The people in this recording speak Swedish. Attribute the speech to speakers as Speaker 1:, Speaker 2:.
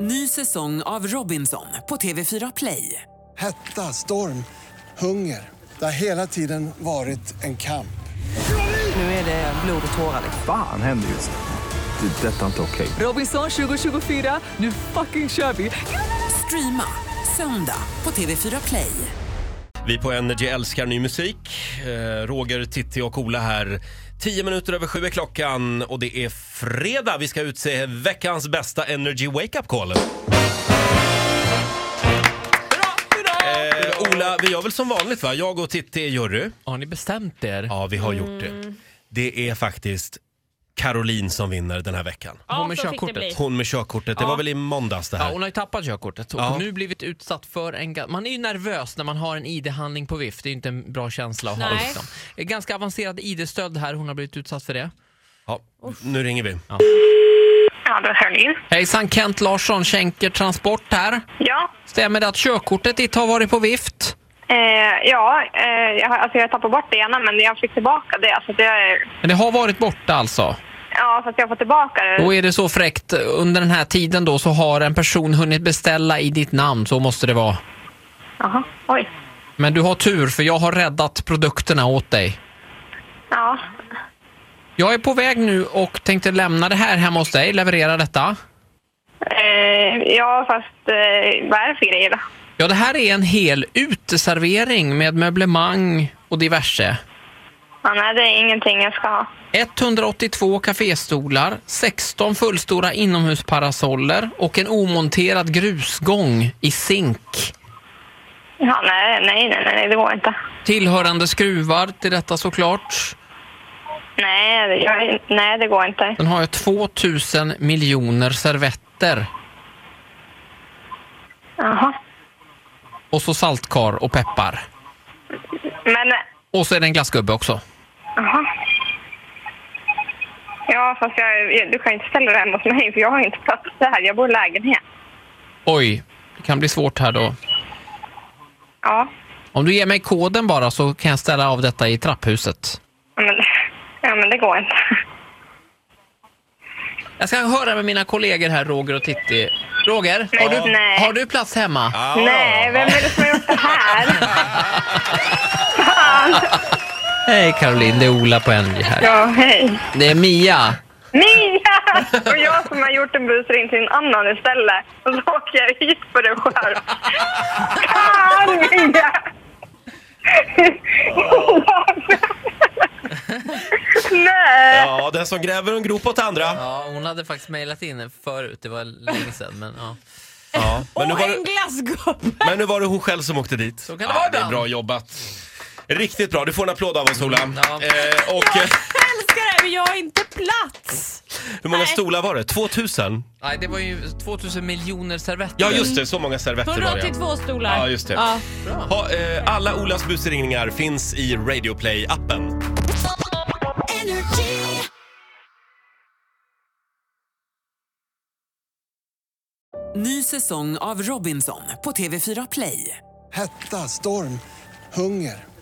Speaker 1: Ny säsong av Robinson på TV4 Play.
Speaker 2: Hetta, storm, hunger. Det har hela tiden varit en kamp.
Speaker 1: Nu är det blod och tårar.
Speaker 3: Fan händer just nu. Det. är Detta är inte okej.
Speaker 1: Robinson 2024, nu fucking kör vi! Streama söndag på TV4 Play.
Speaker 4: Vi på Energy älskar ny musik. Eh, Roger, Titti och Ola här. Tio minuter över sju är klockan och det är fredag. Vi ska utse veckans bästa Energy Wake Up Call. Eh, Ola, vi gör väl som vanligt va? Jag och Titti är jury.
Speaker 5: Har ni bestämt er?
Speaker 4: Ja, vi har gjort det. Det är faktiskt Caroline som vinner den här veckan.
Speaker 5: Hon
Speaker 6: så
Speaker 5: med
Speaker 6: fick det
Speaker 5: körkortet.
Speaker 6: bli.
Speaker 4: Hon med körkortet. Det var väl i måndags det
Speaker 5: Ja,
Speaker 4: här?
Speaker 5: hon har ju tappat körkortet och
Speaker 4: Ja.
Speaker 5: nu blivit utsatt för en... ga- Man är ju nervös när man har en ID-handling på vift. Det är ju inte en bra känsla att ha.
Speaker 6: Nej.
Speaker 5: Liksom. Det är Ganska avancerad ID-stöld här. Hon har blivit utsatt för det.
Speaker 4: Ja, nu ringer vi.
Speaker 7: Ja, det är Caroline.
Speaker 5: Hejsan, Kent Larsson, Schenker Transport här.
Speaker 7: Ja,
Speaker 5: Stämmer det att körkortet ditt har varit på vift?
Speaker 7: eh, ja eh, jag, har- alltså jag tappade bort det ena men jag fick tillbaka det. Så att jag,
Speaker 5: Men det har varit borta alltså?
Speaker 7: ja, så att jag får tillbaka det.
Speaker 5: Då är det så fräckt, under den här tiden då så har en person hunnit beställa i ditt namn, så måste det vara.
Speaker 7: Jaha, oj.
Speaker 5: Men du har tur för jag har räddat produkterna åt dig.
Speaker 7: Ja,
Speaker 5: Jag är på väg nu och tänkte lämna det här hemma hos dig, leverera detta.
Speaker 7: eh, ja fast eh, vad är det för grejer då?
Speaker 5: Ja, det här är en hel uteservering med möblemang och diverse.
Speaker 7: Ja, nej, det är ingenting jag ska ha.
Speaker 5: 182 kaféstolar, 16 fullstora inomhusparasoller och en omonterad grusgång i zink.
Speaker 7: Ja, nej, nej, nej, nej, det går inte.
Speaker 5: Tillhörande skruvar till detta såklart.
Speaker 7: Nej, det, jag, nej, det går inte.
Speaker 5: Sen har jag 2000 miljoner servetter
Speaker 7: Jaha.
Speaker 5: och så saltkar och peppar.
Speaker 7: Men, eh,
Speaker 5: Och så är det en glassgubbe också.
Speaker 7: jaha. Ja, fast jag, jag, du kan ju inte ställa det hemma hos mig för jag har ju inte plats här. Jag bor i lägenhet.
Speaker 5: Oj, det kan bli svårt här då.
Speaker 7: Ja.
Speaker 5: Om du ger mig koden bara så kan jag ställa av detta i trapphuset.
Speaker 7: Ja, men, ja, men det går inte.
Speaker 5: Jag ska höra med mina kollegor här, Roger och Titti. Roger, har du,
Speaker 7: Nej.
Speaker 5: har du plats hemma?
Speaker 4: Ja.
Speaker 7: Nej, vem är det som har gjort det här? Fan.
Speaker 5: Hej Caroline, det är Ola på NJ här.
Speaker 7: Ja, hej.
Speaker 5: Det är Mia.
Speaker 7: Mia! Och jag som har gjort en busring till en annan istället. Och så åker jag hit på det själv. Fan, Mia! Nej!
Speaker 4: Ja, den som gräver en grop åt andra.
Speaker 5: Ja, hon hade faktiskt mejlat in förut, det var länge sedan. Men, ja.
Speaker 4: Ja. Men nu var det-
Speaker 6: en glassgubbe!
Speaker 4: Men nu var det hon själv som åkte dit.
Speaker 5: Så kan det vara
Speaker 4: det är
Speaker 5: ibland.
Speaker 4: bra jobbat. Riktigt bra. Du får en applåd av oss, Ola.
Speaker 5: Ja.
Speaker 4: Eh, och eh,
Speaker 6: Jag älskar det, men jag har inte plats!
Speaker 4: hur många
Speaker 6: Nej.
Speaker 4: stolar var det? 2000?
Speaker 5: Nej, det var ju 2000 miljoner servetter.
Speaker 4: Ja, just det. Så många servetter var det.
Speaker 6: 182 stolar.
Speaker 4: Ja, just det. Ha, eh, alla Olas busringningar finns i Radio Play-appen.
Speaker 1: Ny säsong av Robinson på TV4 Play.
Speaker 2: Hetta, storm, hunger.